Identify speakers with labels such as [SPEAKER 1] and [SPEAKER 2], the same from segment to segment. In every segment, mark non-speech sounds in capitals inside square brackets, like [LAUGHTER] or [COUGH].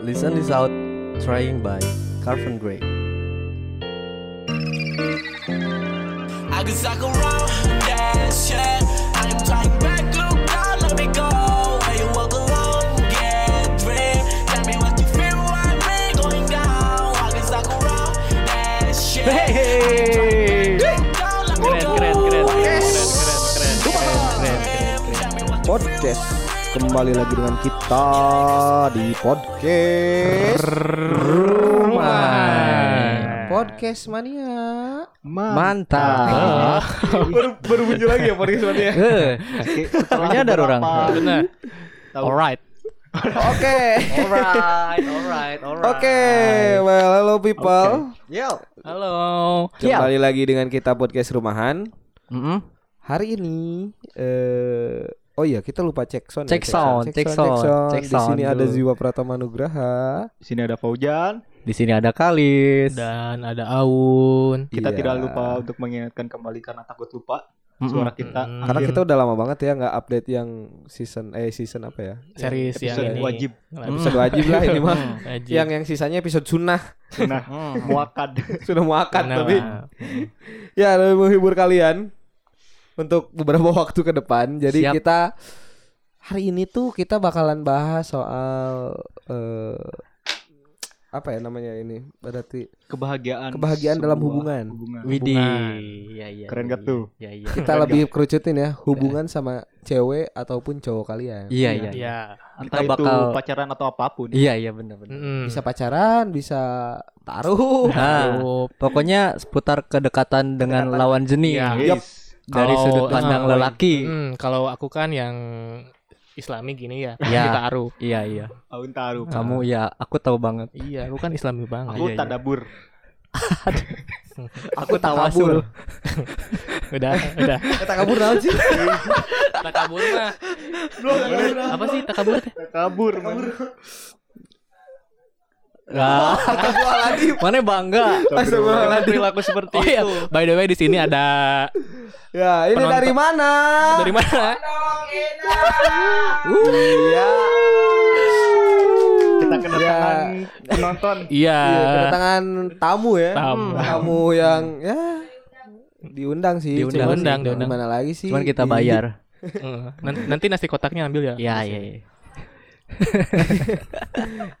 [SPEAKER 1] Listen this out, trying by Carven Grey.
[SPEAKER 2] I can cycle around, dash, yeah. I am trying back, look down, let me go. Where you walk alone, get dream. Tell me what you feel, I'm me going down. I can cycle around, dash, yeah.
[SPEAKER 3] Hey.
[SPEAKER 2] Down, let me
[SPEAKER 3] Keren,
[SPEAKER 2] go.
[SPEAKER 3] keren, keren, keren,
[SPEAKER 2] Yes.
[SPEAKER 3] keren, keren, keren, keren, keren, keren.
[SPEAKER 4] podcast kembali lagi dengan kita di podcast podcast mania
[SPEAKER 1] Mantap.
[SPEAKER 4] baru baru muncul lagi ya podcast mania
[SPEAKER 1] Eh,
[SPEAKER 3] Punya ada orang. Benar. Alright.
[SPEAKER 4] oke
[SPEAKER 3] Alright, alright, alright.
[SPEAKER 4] oke well hello people
[SPEAKER 3] Halo.
[SPEAKER 4] kembali lagi dengan kita podcast rumahan
[SPEAKER 3] Mm-mm.
[SPEAKER 4] hari ini eh Oh iya, kita lupa cek sound. ya,
[SPEAKER 1] Cek sound, cek sound, cek
[SPEAKER 4] Di
[SPEAKER 1] sound
[SPEAKER 4] sini ada
[SPEAKER 1] dulu.
[SPEAKER 4] Ziwa Pratama Nugraha.
[SPEAKER 5] Di sini ada Faujan.
[SPEAKER 1] Di sini ada Kalis.
[SPEAKER 3] Dan ada Aun.
[SPEAKER 5] Kita
[SPEAKER 4] Iya.
[SPEAKER 5] tidak lupa untuk mengingatkan kembali karena takut lupa
[SPEAKER 3] Mm-mm.
[SPEAKER 5] suara kita.
[SPEAKER 3] Mm-mm.
[SPEAKER 4] Karena kita udah lama banget ya nggak update yang season eh season apa ya?
[SPEAKER 3] series yang
[SPEAKER 5] Episode
[SPEAKER 3] ini.
[SPEAKER 5] wajib.
[SPEAKER 4] Episode wajib lah ini mah.
[SPEAKER 3] Hmm. [LAUGHS] Wajib.
[SPEAKER 4] Yang yang sisanya episode sunnah [LAUGHS]
[SPEAKER 5] Nah, muakat.
[SPEAKER 4] sudah muakat
[SPEAKER 3] Benar
[SPEAKER 4] tapi
[SPEAKER 3] lah.
[SPEAKER 4] ya lebih menghibur kalian untuk beberapa [LAUGHS] waktu ke depan. Jadi
[SPEAKER 1] Siap.
[SPEAKER 4] kita hari ini tuh kita bakalan bahas soal eh, apa ya namanya ini berarti
[SPEAKER 5] Kebahagiaan.
[SPEAKER 4] Kebahagiaan dalam
[SPEAKER 5] sebuah
[SPEAKER 4] hubungan.
[SPEAKER 5] hubungan.
[SPEAKER 3] Widih.
[SPEAKER 1] Hubungan.
[SPEAKER 3] Ya,
[SPEAKER 1] Iya.
[SPEAKER 3] ya,
[SPEAKER 5] Keren
[SPEAKER 3] ya,
[SPEAKER 5] gak tuh?
[SPEAKER 3] Ya,
[SPEAKER 1] [LAUGHS]
[SPEAKER 3] ya.
[SPEAKER 4] kita lebih kerucutin ya hubungan sama cewek ataupun cowok kalian
[SPEAKER 1] Iya, iya. iya.
[SPEAKER 3] Ya.
[SPEAKER 5] Entah
[SPEAKER 1] Kita
[SPEAKER 5] itu
[SPEAKER 1] bakal-
[SPEAKER 5] pacaran atau apapun.
[SPEAKER 1] Iya, iya benar benar.
[SPEAKER 3] Mm-mm.
[SPEAKER 4] bisa pacaran bisa taruh
[SPEAKER 1] Nah, pokoknya seputar kedekatan dengan lawan jenis
[SPEAKER 3] Iya.
[SPEAKER 5] Yes.
[SPEAKER 1] dari sudut
[SPEAKER 3] Kalau-
[SPEAKER 1] pandang
[SPEAKER 3] Nah,
[SPEAKER 1] lelaki.
[SPEAKER 4] Hmm.
[SPEAKER 3] Mm, kalau aku kan yang Islami gini ya,
[SPEAKER 1] Ya.
[SPEAKER 3] kita aru.
[SPEAKER 1] Iya, iya.
[SPEAKER 5] Aun
[SPEAKER 4] Nah.
[SPEAKER 5] taruh.
[SPEAKER 1] Kamu ya, aku tahu banget.
[SPEAKER 3] Iya, aku kan Islami banget.
[SPEAKER 5] Aku
[SPEAKER 1] iya, iya.
[SPEAKER 5] tadabur.
[SPEAKER 1] Aku
[SPEAKER 4] kabur.
[SPEAKER 1] tawasul.
[SPEAKER 3] udah, udah.
[SPEAKER 4] Kata Eh, kabur naon
[SPEAKER 1] [LAUGHS]
[SPEAKER 4] sih?
[SPEAKER 3] Takabur mah. Apa sih takabur? teh?
[SPEAKER 5] Tadabur. man.
[SPEAKER 1] Nah, mana bangga
[SPEAKER 4] Astagfirullah.
[SPEAKER 1] perilaku seperti itu.
[SPEAKER 3] Oh, iya. By the way di sini ada
[SPEAKER 4] Ya, ini
[SPEAKER 3] Penonton.
[SPEAKER 4] dari mana?
[SPEAKER 3] dari Ah. mana?
[SPEAKER 4] Iya.
[SPEAKER 5] Kita kedatangan penonton.
[SPEAKER 3] Iya.
[SPEAKER 4] Iya,
[SPEAKER 1] Ah.
[SPEAKER 3] [LAUGHS]
[SPEAKER 4] kedatangan tamu ya.
[SPEAKER 3] Tamu.
[SPEAKER 4] Hmm, Tamu yang ya diundang sih.
[SPEAKER 1] Diundang,
[SPEAKER 4] Cuman
[SPEAKER 3] diundang,
[SPEAKER 4] di-
[SPEAKER 3] diundang.
[SPEAKER 4] Gimana lagi sih?
[SPEAKER 1] Cuman kita
[SPEAKER 4] Di-
[SPEAKER 1] bayar.
[SPEAKER 3] Heeh. Oh, Nan- Nanti nasi kotaknya ambil ya.
[SPEAKER 1] Iya, iya, iya.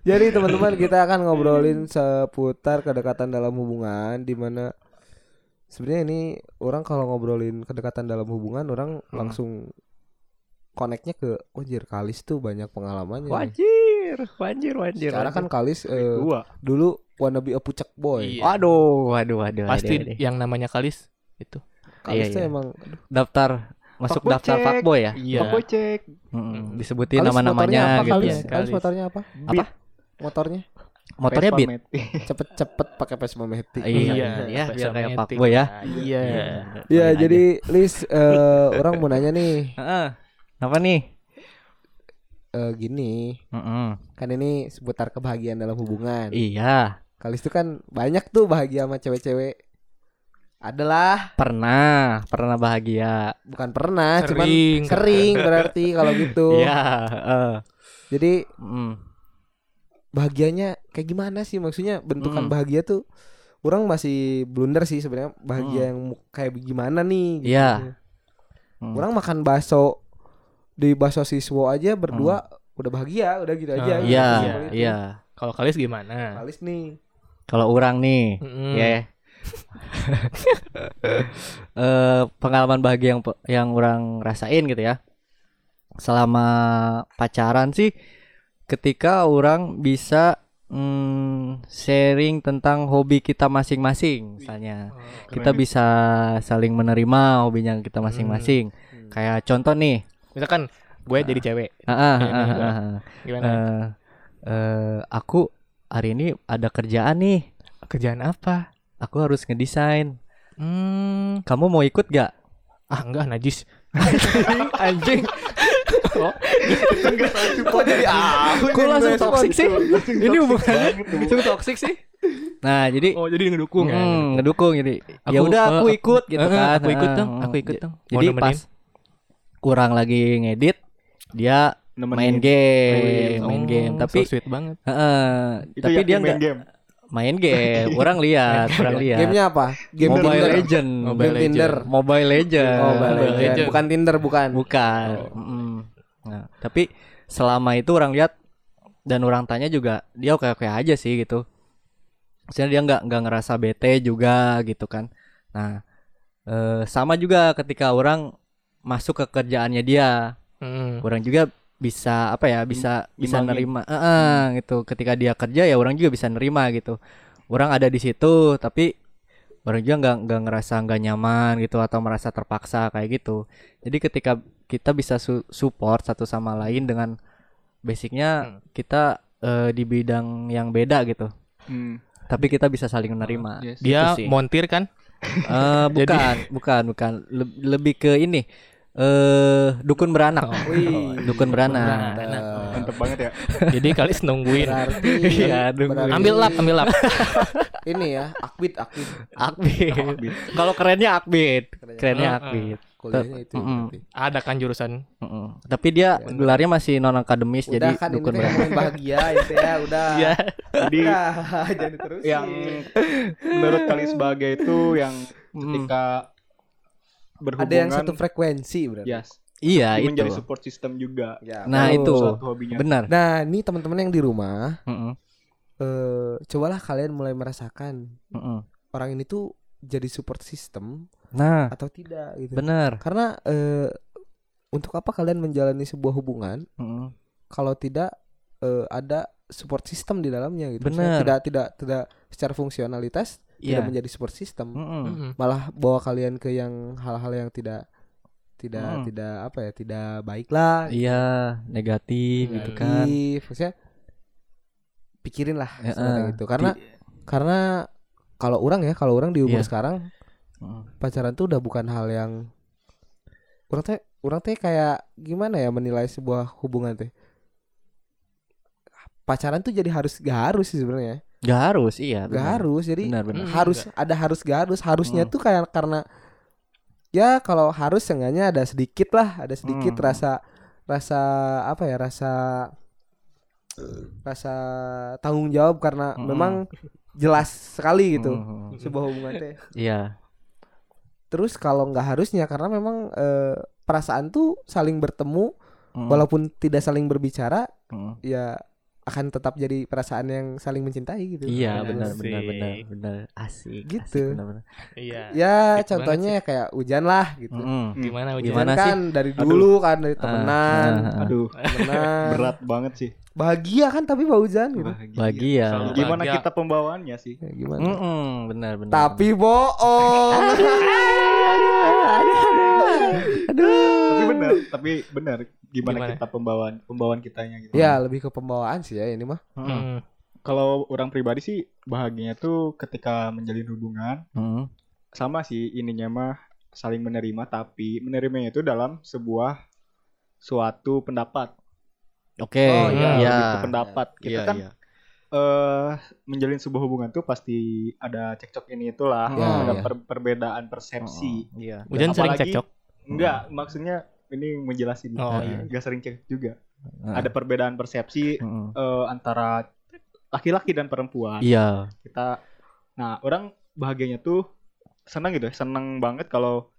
[SPEAKER 4] Jadi teman-teman kita akan ngobrolin seputar kedekatan dalam hubungan di mana sebenarnya ini orang kalau ngobrolin kedekatan dalam hubungan orang
[SPEAKER 1] Hmm.
[SPEAKER 4] langsung koneknya ke wajir Kalis tuh banyak pengalamannya.
[SPEAKER 1] Wajir, wajir, wajir.
[SPEAKER 4] Secara kan Kalis eh,
[SPEAKER 5] Dua.
[SPEAKER 4] dulu wanna be a pucak boy.
[SPEAKER 3] Iya.
[SPEAKER 1] Waduh, waduh, waduh.
[SPEAKER 3] Pasti
[SPEAKER 1] waduh, waduh.
[SPEAKER 3] yang namanya kalis itu.
[SPEAKER 4] Kalis
[SPEAKER 1] Iya,
[SPEAKER 4] tuh
[SPEAKER 1] iya.
[SPEAKER 4] emang
[SPEAKER 1] daftar masuk
[SPEAKER 5] Fuckboy
[SPEAKER 1] daftar
[SPEAKER 5] check.
[SPEAKER 1] fuckboy ya.
[SPEAKER 3] Iya.
[SPEAKER 5] Aku cek.
[SPEAKER 1] Mm-mm, Disebutin
[SPEAKER 4] Kalis
[SPEAKER 1] nama-namanya
[SPEAKER 4] motornya apa,
[SPEAKER 1] gitu
[SPEAKER 4] Kalis?
[SPEAKER 1] ya.
[SPEAKER 4] Kalis,
[SPEAKER 3] Kalis.
[SPEAKER 4] motornya apa?
[SPEAKER 1] Apa?
[SPEAKER 4] Motornya
[SPEAKER 1] Motornya
[SPEAKER 5] Vespa
[SPEAKER 1] beat.
[SPEAKER 5] Matic.
[SPEAKER 4] cepet-cepet pakai Vespa Matic.
[SPEAKER 1] Iya, ya, biar kayak fuckboy ya.
[SPEAKER 3] Iya.
[SPEAKER 4] Iya,
[SPEAKER 1] Aja.
[SPEAKER 4] jadi Lis eh, orang mau nanya nih
[SPEAKER 1] Heeh. Apa nih?
[SPEAKER 4] eh, gini,
[SPEAKER 1] Mm-mm.
[SPEAKER 4] kan ini seputar kebahagiaan dalam hubungan.
[SPEAKER 1] Iya,
[SPEAKER 4] Kalis tuh kan banyak tuh bahagia sama cewek-cewek. Adalah
[SPEAKER 1] pernah, pernah bahagia.
[SPEAKER 4] bukan pernah, cuman
[SPEAKER 3] Sering.
[SPEAKER 4] sering
[SPEAKER 1] [LAUGHS]
[SPEAKER 4] berarti kalau gitu.
[SPEAKER 1] Iya, heeh.
[SPEAKER 4] Jadi
[SPEAKER 1] Mm.
[SPEAKER 4] bahagianya kayak gimana sih maksudnya bentukan
[SPEAKER 1] Hmm.
[SPEAKER 4] bahagia tuh orang masih blunder sih sebenarnya
[SPEAKER 1] Hmm.
[SPEAKER 4] bahagia yang mu- kayak gimana nih gitu.
[SPEAKER 1] Iya. Hmm.
[SPEAKER 4] Orang makan bakso di bakso siswo aja berdua udah bahagia, udah gitu aja.
[SPEAKER 3] Ah,
[SPEAKER 4] gitu.
[SPEAKER 1] Hmm. Iya,
[SPEAKER 4] Simpel itu.
[SPEAKER 1] iya.
[SPEAKER 3] Kalau kalis gimana?
[SPEAKER 4] Kalis nih.
[SPEAKER 1] Kalau orang nih,
[SPEAKER 3] Mm-mm.
[SPEAKER 5] [LAUGHS]
[SPEAKER 1] ya. Eh, pengalaman bahagia yang yang orang rasain gitu ya. Selama pacaran sih ketika orang bisa mm, sharing tentang hobi kita masing-masing misalnya. Kita
[SPEAKER 5] Keren.
[SPEAKER 1] bisa saling menerima hobinya kita masing-masing.
[SPEAKER 4] Hmm.
[SPEAKER 1] Kayak contoh nih,
[SPEAKER 3] Misalkan gue jadi cewek.
[SPEAKER 1] ah, ah,
[SPEAKER 3] Iya,
[SPEAKER 1] ah,
[SPEAKER 3] iya, iya.
[SPEAKER 1] ah, ah.
[SPEAKER 3] Gimana?
[SPEAKER 1] Eh, eh, aku hari ini ada kerjaan nih.
[SPEAKER 3] Kerjaan apa?
[SPEAKER 1] Aku harus ngedesain.
[SPEAKER 3] Hmm,
[SPEAKER 1] Kamu mau ikut gak?
[SPEAKER 3] ah enggak najis.
[SPEAKER 1] Anjing,
[SPEAKER 4] Kok [LAUGHS] jadi aku
[SPEAKER 1] kok langsung toxic sih? Ini hubungannya langsung toxic sih. Nah, jadi
[SPEAKER 3] Oh, jadi ngedukung
[SPEAKER 1] mm,
[SPEAKER 3] kan?
[SPEAKER 1] ngedukung jadi
[SPEAKER 3] Aku,
[SPEAKER 1] ya udah
[SPEAKER 3] eh,
[SPEAKER 1] aku ikut gitu
[SPEAKER 3] eh,
[SPEAKER 1] kan.
[SPEAKER 3] Aku ikut
[SPEAKER 1] Eh,
[SPEAKER 3] dong,
[SPEAKER 1] eh,
[SPEAKER 3] aku ikut dong.
[SPEAKER 1] Jadi
[SPEAKER 3] Mau nemenin?
[SPEAKER 1] pas kurang lagi ngedit, dia
[SPEAKER 5] nemenin.
[SPEAKER 1] main game,
[SPEAKER 5] Oh,
[SPEAKER 1] Iya, main game.
[SPEAKER 3] Oh,
[SPEAKER 1] Tapi
[SPEAKER 3] so sweet banget.
[SPEAKER 1] Heeh,
[SPEAKER 5] Itu
[SPEAKER 1] tapi
[SPEAKER 5] yakin
[SPEAKER 1] dia
[SPEAKER 5] main
[SPEAKER 1] nggak
[SPEAKER 5] game.
[SPEAKER 1] main game. [LAUGHS] Orang lihat, orang lihat.
[SPEAKER 4] Gamenya apa?
[SPEAKER 1] Iya.
[SPEAKER 4] Game
[SPEAKER 1] Mobile
[SPEAKER 4] Tinder.
[SPEAKER 1] Legend.
[SPEAKER 4] Game
[SPEAKER 3] Mobile
[SPEAKER 4] Tinder.
[SPEAKER 3] Legend.
[SPEAKER 1] Mobile Legend.
[SPEAKER 4] Oh, Mobile
[SPEAKER 3] Mobile
[SPEAKER 4] Legend.
[SPEAKER 3] Legend.
[SPEAKER 4] Bukan Tinder, bukan.
[SPEAKER 1] Bukan. Mm. Nah, tapi selama itu orang lihat dan orang tanya juga dia oke oke aja sih gitu. Maksudnya dia nggak nggak ngerasa bete juga gitu kan. Nah, eh, sama juga ketika orang masuk ke kerjaannya dia,
[SPEAKER 3] Hmm.
[SPEAKER 1] orang juga bisa apa ya bisa bisa
[SPEAKER 5] Imbangi.
[SPEAKER 1] nerima eh, eh, gitu ketika dia kerja ya orang juga bisa nerima gitu orang ada di situ tapi orang juga nggak nggak ngerasa nggak nyaman gitu atau merasa terpaksa kayak gitu jadi ketika kita bisa su- support satu sama lain dengan basicnya kita eh, di bidang yang beda gitu
[SPEAKER 5] Hmm.
[SPEAKER 1] tapi kita bisa saling menerima
[SPEAKER 5] Yes.
[SPEAKER 1] gitu
[SPEAKER 3] Dia
[SPEAKER 1] sih. [LAUGHS]
[SPEAKER 3] montir kan?
[SPEAKER 1] Eh, bukan bukan bukan Leb- lebih ke ini eh dukun beranak
[SPEAKER 4] Wih.
[SPEAKER 1] dukun beranak
[SPEAKER 4] Mantap.
[SPEAKER 5] Mantep banget ya.
[SPEAKER 3] Jadi kali nungguin.
[SPEAKER 4] Berarti
[SPEAKER 1] [LAUGHS] Iya, aduh.
[SPEAKER 4] berarti
[SPEAKER 3] Ambil lap, ambil lap.
[SPEAKER 4] Ini ya, akbit, akbit.
[SPEAKER 1] Akbit. Kalau kerennya Akbit. Kerennya
[SPEAKER 3] Heeh.
[SPEAKER 1] Akbit.
[SPEAKER 4] Kuliahnya itu. ya,
[SPEAKER 1] Mm-mm.
[SPEAKER 4] berarti.
[SPEAKER 3] Ada kan jurusan.
[SPEAKER 1] Mm-mm. Tapi dia gelarnya masih non akademis
[SPEAKER 4] Ya, Udah
[SPEAKER 1] jadi
[SPEAKER 4] kan ini
[SPEAKER 1] dukun
[SPEAKER 4] kan
[SPEAKER 1] beranak.
[SPEAKER 4] [LAUGHS] ngomongin bahagia itu ya, udah.
[SPEAKER 3] Iya.
[SPEAKER 4] [LAUGHS]
[SPEAKER 5] Jadi
[SPEAKER 4] Udah, jangan terusin.
[SPEAKER 5] yang menurut kali sebagai itu yang
[SPEAKER 1] Hmm.
[SPEAKER 5] ketika berhubungan
[SPEAKER 4] ada yang satu frekuensi berarti.
[SPEAKER 5] yes,
[SPEAKER 1] Iya,
[SPEAKER 5] itu menjadi
[SPEAKER 1] itu.
[SPEAKER 5] support system juga.
[SPEAKER 4] Ya.
[SPEAKER 1] Nah,
[SPEAKER 5] Kalau
[SPEAKER 1] itu.
[SPEAKER 5] suatu hobinya.
[SPEAKER 1] Benar.
[SPEAKER 4] Nah, ini teman-teman yang di rumah,
[SPEAKER 1] Mm-mm.
[SPEAKER 4] eh cobalah kalian mulai merasakan
[SPEAKER 1] Mm-mm.
[SPEAKER 4] orang ini tuh jadi support system
[SPEAKER 1] Nah,
[SPEAKER 4] atau tidak gitu.
[SPEAKER 1] benar.
[SPEAKER 4] Karena eh untuk apa kalian menjalani sebuah hubungan
[SPEAKER 1] Mm-mm.
[SPEAKER 4] kalau tidak eh, ada support system di dalamnya gitu. Maksudnya
[SPEAKER 1] Bener.
[SPEAKER 4] Tidak tidak tidak secara fungsionalitas
[SPEAKER 1] Iya.
[SPEAKER 4] tidak menjadi support system,
[SPEAKER 1] Mm-mm.
[SPEAKER 3] Mm-mm.
[SPEAKER 4] malah bawa kalian ke yang hal-hal yang tidak tidak
[SPEAKER 1] Hmm.
[SPEAKER 4] tidak apa ya, tidak baik lah.
[SPEAKER 1] Iya, negatif gitu
[SPEAKER 4] Iya.
[SPEAKER 1] kan.
[SPEAKER 4] Ih, maksudnya pikirin lah
[SPEAKER 1] Ya,
[SPEAKER 4] Iya, seperti
[SPEAKER 1] eh,
[SPEAKER 4] itu. Karena karena kalau orang ya, kalau orang di umur
[SPEAKER 1] Iya.
[SPEAKER 4] sekarang
[SPEAKER 1] Mm.
[SPEAKER 4] pacaran tuh udah bukan hal yang orang teh orang teh kayak gimana ya menilai sebuah hubungan teh pacaran tuh jadi harus gak harus sih sebenarnya
[SPEAKER 1] Gak harus, iya.
[SPEAKER 4] gak harus jadi
[SPEAKER 1] Benar, benar.
[SPEAKER 3] Mm,
[SPEAKER 4] harus ada harus gak harus
[SPEAKER 1] Mm.
[SPEAKER 4] harusnya tuh kayak karena ya kalau harus seenggaknya ada sedikit lah ada sedikit
[SPEAKER 1] Mm.
[SPEAKER 4] rasa rasa apa ya rasa rasa tanggung jawab karena
[SPEAKER 1] Mm.
[SPEAKER 4] memang jelas sekali [LAUGHS] gitu
[SPEAKER 1] Mm.
[SPEAKER 4] sebuah hubungan teh
[SPEAKER 1] Iya.
[SPEAKER 4] terus kalau nggak harusnya karena memang eh, perasaan tuh saling bertemu
[SPEAKER 1] Mm.
[SPEAKER 4] walaupun tidak saling berbicara
[SPEAKER 1] Mm.
[SPEAKER 4] ya akan tetap jadi perasaan yang saling mencintai gitu
[SPEAKER 1] Iya,
[SPEAKER 3] Asik.
[SPEAKER 1] benar benar benar benar. Asik.
[SPEAKER 4] Gitu.
[SPEAKER 1] asik, benar-benar.
[SPEAKER 3] Iya.
[SPEAKER 4] ya
[SPEAKER 3] Asik
[SPEAKER 4] contohnya ya kayak hujan lah gitu
[SPEAKER 1] Gitu Mm-mm.
[SPEAKER 3] Gimana
[SPEAKER 1] Gimana
[SPEAKER 3] ujian?
[SPEAKER 4] Hujan kan dari dulu kan dari temenan
[SPEAKER 1] Ah, ah, ah.
[SPEAKER 5] Aduh,
[SPEAKER 4] temenan
[SPEAKER 5] berat banget sih.
[SPEAKER 4] bahagia kan tapi bau hujan gitu
[SPEAKER 1] Bahagia.
[SPEAKER 3] Selalu
[SPEAKER 5] Gimana
[SPEAKER 3] bahagia.
[SPEAKER 5] kita pembawaannya sih?
[SPEAKER 4] Ya, gimana
[SPEAKER 1] Mm-mm, benar benar.
[SPEAKER 4] tapi bohong
[SPEAKER 5] Tapi benar, tapi benar. Gimana,
[SPEAKER 3] Gimana?
[SPEAKER 5] kita pembawaan pembawaan kitanya gitu.
[SPEAKER 4] ya lebih ke pembawaan sih ya ini mah
[SPEAKER 1] Mm-mm.
[SPEAKER 5] Hmm.
[SPEAKER 3] Mm.
[SPEAKER 5] Kalau orang pribadi sih bahagianya tuh ketika menjalin hubungan
[SPEAKER 1] Mm-mm.
[SPEAKER 5] sama sih ininya mah saling menerima tapi menerimanya itu dalam sebuah suatu pendapat.
[SPEAKER 1] Oke,
[SPEAKER 4] Oh, iya.
[SPEAKER 5] Nah,
[SPEAKER 1] iya.
[SPEAKER 5] lebih ke pendapat. Kita
[SPEAKER 1] Iya,
[SPEAKER 5] kan
[SPEAKER 1] iya.
[SPEAKER 5] eh menjalin sebuah hubungan tuh pasti ada cekcok ini itulah,
[SPEAKER 1] Ya,
[SPEAKER 5] ada
[SPEAKER 4] ya.
[SPEAKER 5] per- perbedaan persepsi.
[SPEAKER 1] Oh, Iya.
[SPEAKER 3] Ujian sering
[SPEAKER 5] Apalagi-
[SPEAKER 3] cekcok.
[SPEAKER 5] Enggak, maksudnya ini menjelasin.
[SPEAKER 3] Oh,
[SPEAKER 1] Oh. Hmm. iya.
[SPEAKER 5] Enggak sering cekcok juga.
[SPEAKER 1] Ah.
[SPEAKER 5] Ada perbedaan persepsi
[SPEAKER 1] Mm-mm.
[SPEAKER 5] eh, antara laki-laki dan perempuan.
[SPEAKER 1] Iya.
[SPEAKER 5] Kita nah, orang bahagianya tuh senang gitu, ya, senang banget kalau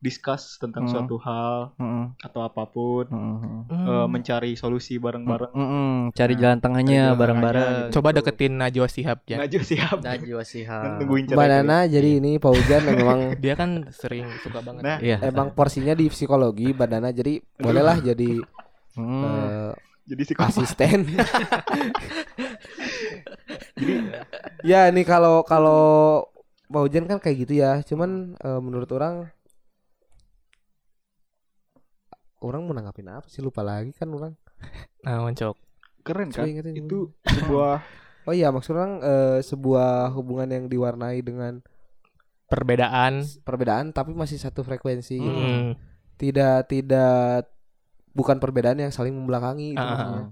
[SPEAKER 5] discuss tentang
[SPEAKER 1] Hmm.
[SPEAKER 5] suatu hal
[SPEAKER 1] Mm-mm.
[SPEAKER 5] atau apapun,
[SPEAKER 1] Mm-mm.
[SPEAKER 5] eh,
[SPEAKER 3] Mm.
[SPEAKER 5] mencari solusi bareng-bareng.
[SPEAKER 1] Mm-mm. Cari
[SPEAKER 5] Nah,
[SPEAKER 1] jalan tengahnya
[SPEAKER 5] jalan
[SPEAKER 1] bareng-bareng.
[SPEAKER 3] Coba deketin Najwa Shihab ya.
[SPEAKER 5] gitu. Najwa siap.
[SPEAKER 1] Iya. Najwa Shihab.
[SPEAKER 5] Nungguin cerai dari-
[SPEAKER 1] gitu.
[SPEAKER 4] banana jadi ini Pak Hujan
[SPEAKER 1] [LAUGHS]
[SPEAKER 4] memang
[SPEAKER 3] Dia kan sering suka banget.
[SPEAKER 5] Nah,
[SPEAKER 1] Iya.
[SPEAKER 4] emang porsinya di psikologi badana jadi bolehlah jadi
[SPEAKER 1] Mm.
[SPEAKER 4] eh,
[SPEAKER 5] jadi si
[SPEAKER 4] asisten ya nih kalau kalau Pak Hujan kan kayak gitu ya cuman eh, menurut orang orang mau nanggapin apa sih lupa lagi kan orang
[SPEAKER 3] Nah, Oncok.
[SPEAKER 5] keren
[SPEAKER 4] Coba
[SPEAKER 5] kan?
[SPEAKER 4] ingetin dulu.
[SPEAKER 5] Itu
[SPEAKER 1] [LAUGHS]
[SPEAKER 5] sebuah
[SPEAKER 4] oh iya maksud orang eh, sebuah hubungan yang diwarnai dengan
[SPEAKER 3] Perbedaan.
[SPEAKER 4] perbedaan tapi masih satu frekuensi
[SPEAKER 5] Hmm.
[SPEAKER 4] gitu.
[SPEAKER 3] Mm.
[SPEAKER 4] tidak tidak bukan perbedaan yang saling membelakangi gitu
[SPEAKER 3] Ah.
[SPEAKER 4] maksudnya.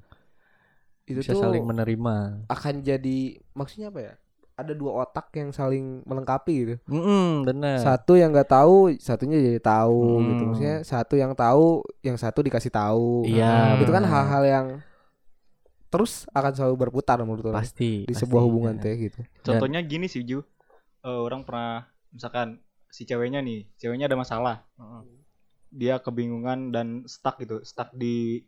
[SPEAKER 4] itu
[SPEAKER 1] Bisa
[SPEAKER 4] tuh
[SPEAKER 1] saling menerima.
[SPEAKER 4] akan jadi maksudnya apa ya ada dua otak yang saling melengkapi gitu.
[SPEAKER 1] Mm-mm, bener.
[SPEAKER 4] Satu yang nggak tahu, satunya jadi tahu
[SPEAKER 1] Eh. Hmm.
[SPEAKER 4] gitu. Maksudnya satu yang tahu, yang satu dikasih tahu.
[SPEAKER 1] Iya,
[SPEAKER 4] Nah, itu kan
[SPEAKER 1] benar.
[SPEAKER 4] hal-hal yang terus akan selalu berputar menurut orang
[SPEAKER 1] pasti
[SPEAKER 4] di
[SPEAKER 1] pasti.
[SPEAKER 4] sebuah hubungan teh gitu.
[SPEAKER 5] Contohnya gini sih Ju, Eh, orang pernah misalkan si ceweknya nih, ceweknya ada masalah, dia kebingungan dan stuck gitu, stuck di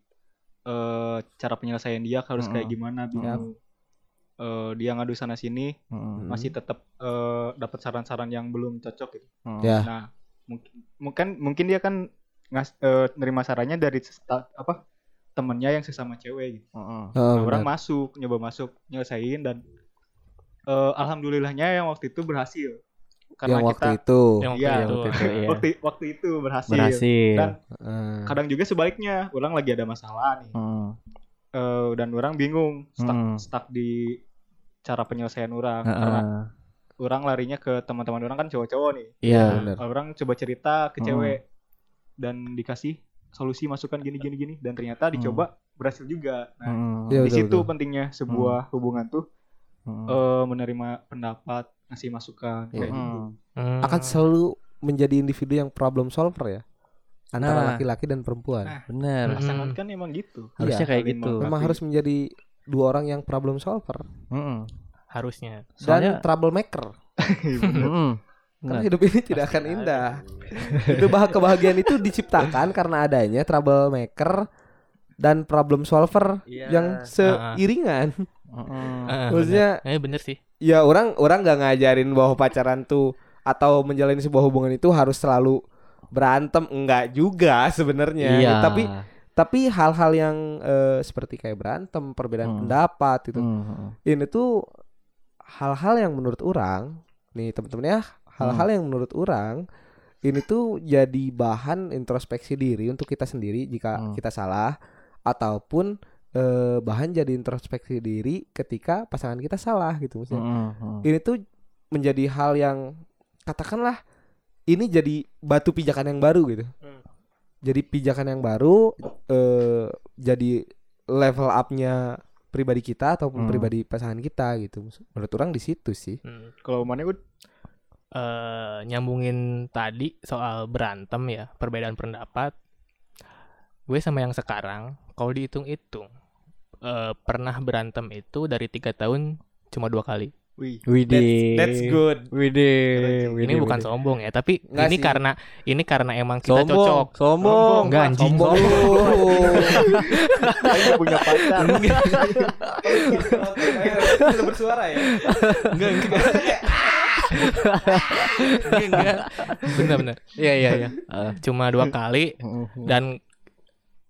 [SPEAKER 5] eh, cara penyelesaian dia harus kayak
[SPEAKER 1] Mm-mm.
[SPEAKER 5] gimana, bingung. Eh, dia ngadu sana sini
[SPEAKER 1] Mm-mm,
[SPEAKER 4] Hmm.
[SPEAKER 5] masih tetap eh, dapat saran-saran yang belum cocok gitu.
[SPEAKER 1] mm-mm.
[SPEAKER 4] Ya.
[SPEAKER 5] Nah, mungkin mungkin mungkin dia kan ngas, eh, nerima sarannya dari sesta- apa temennya yang sesama cewek gitu.
[SPEAKER 1] Mm-mm.
[SPEAKER 4] Heeh,
[SPEAKER 5] Nah, orang
[SPEAKER 4] Eh, benar.
[SPEAKER 5] masuk, nyoba masuk, nyelesain dan eh, alhamdulillahnya yang waktu itu berhasil. Karena kita
[SPEAKER 4] yang waktu itu. ya.
[SPEAKER 3] Yang waktu
[SPEAKER 5] Iya,
[SPEAKER 3] itu.
[SPEAKER 1] Waktu
[SPEAKER 3] [LAUGHS]
[SPEAKER 1] itu, iya.
[SPEAKER 5] waktu waktu itu berhasil.
[SPEAKER 1] berhasil.
[SPEAKER 5] Dan
[SPEAKER 4] Heeh.
[SPEAKER 1] kan
[SPEAKER 5] kadang juga sebaliknya, orang lagi ada masalah
[SPEAKER 4] Hmm.
[SPEAKER 5] nih.
[SPEAKER 1] Mm.
[SPEAKER 5] Eh, dan orang bingung, stuck,
[SPEAKER 1] Hmm.
[SPEAKER 5] stuck di cara penyelesaian orang.
[SPEAKER 1] Heeh.
[SPEAKER 5] Karena orang larinya ke teman-teman orang kan cowok-cowok nih.
[SPEAKER 1] Iya.
[SPEAKER 4] benar. Hmm.
[SPEAKER 5] Kalau orang coba cerita ke
[SPEAKER 1] Mm.
[SPEAKER 5] cewek dan dikasih solusi masukan gini gini gini dan ternyata dicoba berhasil juga. Nah,
[SPEAKER 1] Mm-mm,
[SPEAKER 4] Iya,
[SPEAKER 5] di
[SPEAKER 4] Hmm. betul,
[SPEAKER 5] situ
[SPEAKER 4] betul. Hmm.
[SPEAKER 5] pentingnya sebuah hubungan tuh
[SPEAKER 1] mm-mm.
[SPEAKER 5] eh, menerima pendapat, ngasih masukan kayak
[SPEAKER 1] Mm-mm.
[SPEAKER 5] gitu.
[SPEAKER 3] Hmm.
[SPEAKER 4] akan selalu menjadi individu yang problem solver ya antara
[SPEAKER 1] Nah.
[SPEAKER 4] laki-laki dan perempuan.
[SPEAKER 5] Nah,
[SPEAKER 1] Bener.
[SPEAKER 3] Mm.
[SPEAKER 5] Pasangan kan emang gitu.
[SPEAKER 1] Harusnya kayak
[SPEAKER 5] saling
[SPEAKER 1] gitu.
[SPEAKER 5] melengkapi.
[SPEAKER 4] Memang
[SPEAKER 5] [LAUGHS]
[SPEAKER 4] harus menjadi dua orang yang problem solver
[SPEAKER 1] Mm-mm.
[SPEAKER 3] harusnya
[SPEAKER 1] Soalnya-
[SPEAKER 4] dan troublemaker.
[SPEAKER 5] Iya,
[SPEAKER 1] Mm-mm.
[SPEAKER 4] Karena
[SPEAKER 1] Benar.
[SPEAKER 4] hidup ini tidak akan indah. itu bah kebahagiaan itu diciptakan karena adanya troublemaker dan problem solver yang seiringan.
[SPEAKER 1] Mm-mm.
[SPEAKER 3] Heeh,
[SPEAKER 4] Maksudnya
[SPEAKER 3] bener. eh bener sih
[SPEAKER 4] ya orang orang nggak ngajarin bahwa pacaran tuh atau menjalani sebuah hubungan itu harus selalu berantem enggak juga sebenarnya
[SPEAKER 1] Iya.
[SPEAKER 4] tapi tapi hal-hal yang eh, seperti kayak berantem perbedaan
[SPEAKER 1] Hmm.
[SPEAKER 4] pendapat gitu
[SPEAKER 1] Mm-mm.
[SPEAKER 4] ini tuh hal-hal yang menurut orang nih temen-temen ya hal-hal yang menurut orang ini tuh jadi bahan introspeksi diri untuk kita sendiri jika
[SPEAKER 1] Hmm.
[SPEAKER 4] kita salah ataupun eh, bahan jadi introspeksi diri ketika pasangan kita salah gitu maksudnya
[SPEAKER 1] Mm-mm.
[SPEAKER 4] ini tuh menjadi hal yang katakanlah ini jadi batu pijakan yang baru gitu
[SPEAKER 3] Hmm.
[SPEAKER 4] jadi pijakan yang baru eh, jadi level upnya pribadi kita
[SPEAKER 1] Hmm.
[SPEAKER 4] ataupun pribadi pasangan kita gitu menurut orang di situ sih
[SPEAKER 3] Hmm.
[SPEAKER 5] Kalau mana Ud?
[SPEAKER 3] eh nyambungin tadi soal berantem ya perbedaan pendapat gue sama yang sekarang kalau dihitung-hitung eh, pernah berantem itu dari tiga tahun cuma dua kali
[SPEAKER 5] Wih.
[SPEAKER 1] Widih.
[SPEAKER 4] good
[SPEAKER 1] Widih.
[SPEAKER 3] ini bukan sombong ya tapi
[SPEAKER 4] Nggak
[SPEAKER 3] ini
[SPEAKER 4] sih.
[SPEAKER 3] karena ini karena emang kita
[SPEAKER 1] sombong.
[SPEAKER 3] cocok
[SPEAKER 1] Sombong.
[SPEAKER 3] Enggak, anjing. [LAUGHS]
[SPEAKER 4] [LAUGHS] sombong
[SPEAKER 5] [LAUGHS] Saya punya pacar.
[SPEAKER 4] lu bersuara ya
[SPEAKER 3] enggak enggak enggak enggak bener bener iya iya iya Eh, cuma dua kali dan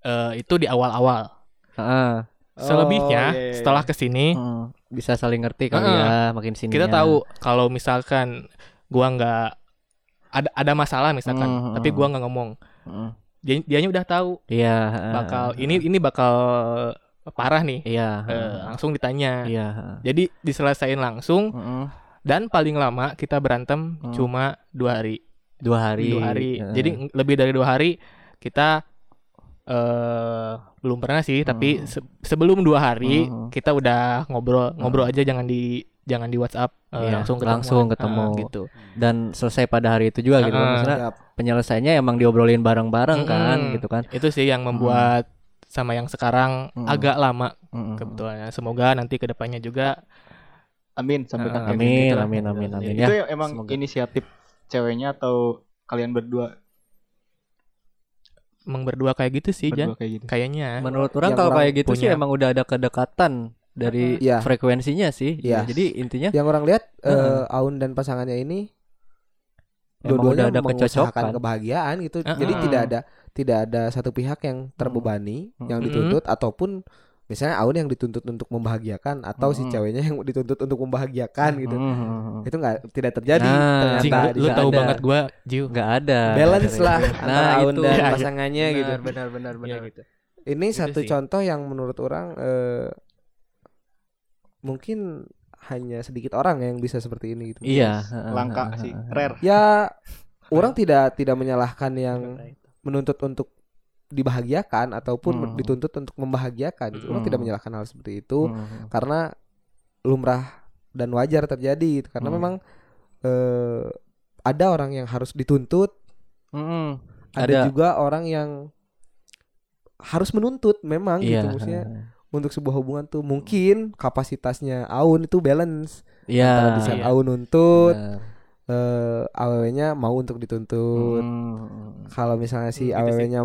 [SPEAKER 3] eh, itu di awal-awal
[SPEAKER 1] Heeh.
[SPEAKER 3] selebihnya
[SPEAKER 5] iya, iya, iya.
[SPEAKER 3] setelah kesini
[SPEAKER 1] Mm. Bisa saling ngerti kali ya
[SPEAKER 3] Heeh.
[SPEAKER 1] makin sini.
[SPEAKER 3] kita tahu kalau misalkan gua nggak ada ada masalah misalkan
[SPEAKER 1] Mm,
[SPEAKER 3] tapi
[SPEAKER 1] mm.
[SPEAKER 3] gua nggak ngomong dia dianya udah tahu
[SPEAKER 1] Iya. heeh.
[SPEAKER 3] bakal ini ini bakal parah nih
[SPEAKER 1] Iya.
[SPEAKER 3] Eh, langsung ditanya
[SPEAKER 1] Iya.
[SPEAKER 3] jadi diselesain langsung
[SPEAKER 1] Mm-mm.
[SPEAKER 3] dan paling lama kita berantem
[SPEAKER 1] Mm.
[SPEAKER 3] cuma dua hari
[SPEAKER 1] Dua hari.
[SPEAKER 3] dua hari
[SPEAKER 1] Heeh.
[SPEAKER 3] jadi ng- lebih dari dua hari kita eh belum pernah sih
[SPEAKER 1] Oh.
[SPEAKER 3] tapi se- sebelum dua hari
[SPEAKER 1] Mm.
[SPEAKER 3] kita udah ngobrol ngobrol aja jangan di jangan di WhatsApp eh,
[SPEAKER 1] Oh. Iya,
[SPEAKER 3] langsung ketemu
[SPEAKER 1] langsung ketemu.
[SPEAKER 3] gitu
[SPEAKER 1] dan selesai pada hari itu juga gitu kan.
[SPEAKER 3] Heeh.
[SPEAKER 4] Ah, nah,
[SPEAKER 1] maksudnya penyelesaiannya emang diobrolin bareng-bareng kan
[SPEAKER 3] Mm-mm.
[SPEAKER 1] gitu kan
[SPEAKER 3] itu sih yang membuat sama yang sekarang
[SPEAKER 1] Mm.
[SPEAKER 3] agak lama
[SPEAKER 1] Mm-mm.
[SPEAKER 3] kebetulannya semoga nanti kedepannya juga
[SPEAKER 5] Amin sampai
[SPEAKER 3] Ah,
[SPEAKER 5] kakek
[SPEAKER 1] Nah, amin
[SPEAKER 5] gitu lah.
[SPEAKER 1] amin amin amin ya
[SPEAKER 5] Itu ya, emang
[SPEAKER 1] semoga.
[SPEAKER 5] inisiatif ceweknya atau kalian berdua
[SPEAKER 3] emang berdua kayak gitu sih
[SPEAKER 1] Iya.
[SPEAKER 3] Jan
[SPEAKER 5] berdua kayak gitu.
[SPEAKER 3] kayaknya
[SPEAKER 1] menurut orang
[SPEAKER 4] Yang
[SPEAKER 1] kalau
[SPEAKER 4] orang
[SPEAKER 1] kayak gitu sih
[SPEAKER 3] punya.
[SPEAKER 1] emang udah ada kedekatan dari
[SPEAKER 4] Iya.
[SPEAKER 1] frekuensinya sih Ya,
[SPEAKER 4] Iya.
[SPEAKER 1] jadi intinya
[SPEAKER 4] yang orang lihat eh,
[SPEAKER 1] Heeh.
[SPEAKER 4] Aun dan pasangannya ini
[SPEAKER 1] Emang udah
[SPEAKER 4] dua-duanya
[SPEAKER 1] ada
[SPEAKER 4] mengusahakan
[SPEAKER 1] kecocokan.
[SPEAKER 4] kebahagiaan gitu jadi
[SPEAKER 3] Heeh.
[SPEAKER 4] tidak ada tidak ada satu pihak yang
[SPEAKER 1] Hmm.
[SPEAKER 4] terbebani
[SPEAKER 1] Mm.
[SPEAKER 4] yang
[SPEAKER 3] Mm.
[SPEAKER 4] dituntut ataupun misalnya Aun yang dituntut untuk membahagiakan atau si
[SPEAKER 1] Mm.
[SPEAKER 4] ceweknya yang dituntut untuk membahagiakan gitu
[SPEAKER 1] Mm-mm.
[SPEAKER 4] itu nggak tidak terjadi
[SPEAKER 1] Hmm. Nah,
[SPEAKER 3] Jing,
[SPEAKER 4] ternyata
[SPEAKER 1] Jing,
[SPEAKER 3] lu, lu
[SPEAKER 1] bisa
[SPEAKER 3] tahu
[SPEAKER 1] ada.
[SPEAKER 3] banget gua Jiu
[SPEAKER 1] nggak ada
[SPEAKER 4] balance lah antara
[SPEAKER 1] nah
[SPEAKER 4] Aun
[SPEAKER 1] itu
[SPEAKER 4] dan
[SPEAKER 3] Iya, iya.
[SPEAKER 4] pasangannya gitu
[SPEAKER 1] benar benar
[SPEAKER 3] benar.
[SPEAKER 1] gitu
[SPEAKER 4] ini
[SPEAKER 3] Itu
[SPEAKER 4] satu
[SPEAKER 3] sih.
[SPEAKER 4] contoh yang menurut orang eh, mungkin hanya sedikit orang yang bisa seperti ini gitu
[SPEAKER 1] iya
[SPEAKER 5] Langka sih,
[SPEAKER 1] ah, [LAUGHS]
[SPEAKER 5] rare.
[SPEAKER 4] ya orang tidak tidak menyalahkan yang menuntut untuk dibahagiakan
[SPEAKER 1] Hmm.
[SPEAKER 4] ataupun dituntut untuk membahagiakan gitu. orang
[SPEAKER 1] Hmm.
[SPEAKER 4] tidak menyalahkan hal seperti itu
[SPEAKER 1] Mm-mm.
[SPEAKER 4] karena lumrah dan wajar terjadi gitu. karena
[SPEAKER 1] Hmm.
[SPEAKER 4] memang eh, ada orang yang harus dituntut,
[SPEAKER 1] Mm-mm.
[SPEAKER 4] hmm. ada,
[SPEAKER 1] hmm, Ada.
[SPEAKER 4] juga orang yang harus menuntut memang
[SPEAKER 1] Iya.
[SPEAKER 4] gitu maksudnya untuk sebuah hubungan tuh mungkin kapasitasnya Aun itu balance
[SPEAKER 1] Iya. Hmm.
[SPEAKER 4] antara di saat
[SPEAKER 3] Iya.
[SPEAKER 4] Aun nuntut
[SPEAKER 1] Benar.
[SPEAKER 4] eh aww-nya mau untuk dituntut.
[SPEAKER 1] Mm.
[SPEAKER 4] Kalau misalnya si
[SPEAKER 3] Gitu sih.
[SPEAKER 4] aww-nya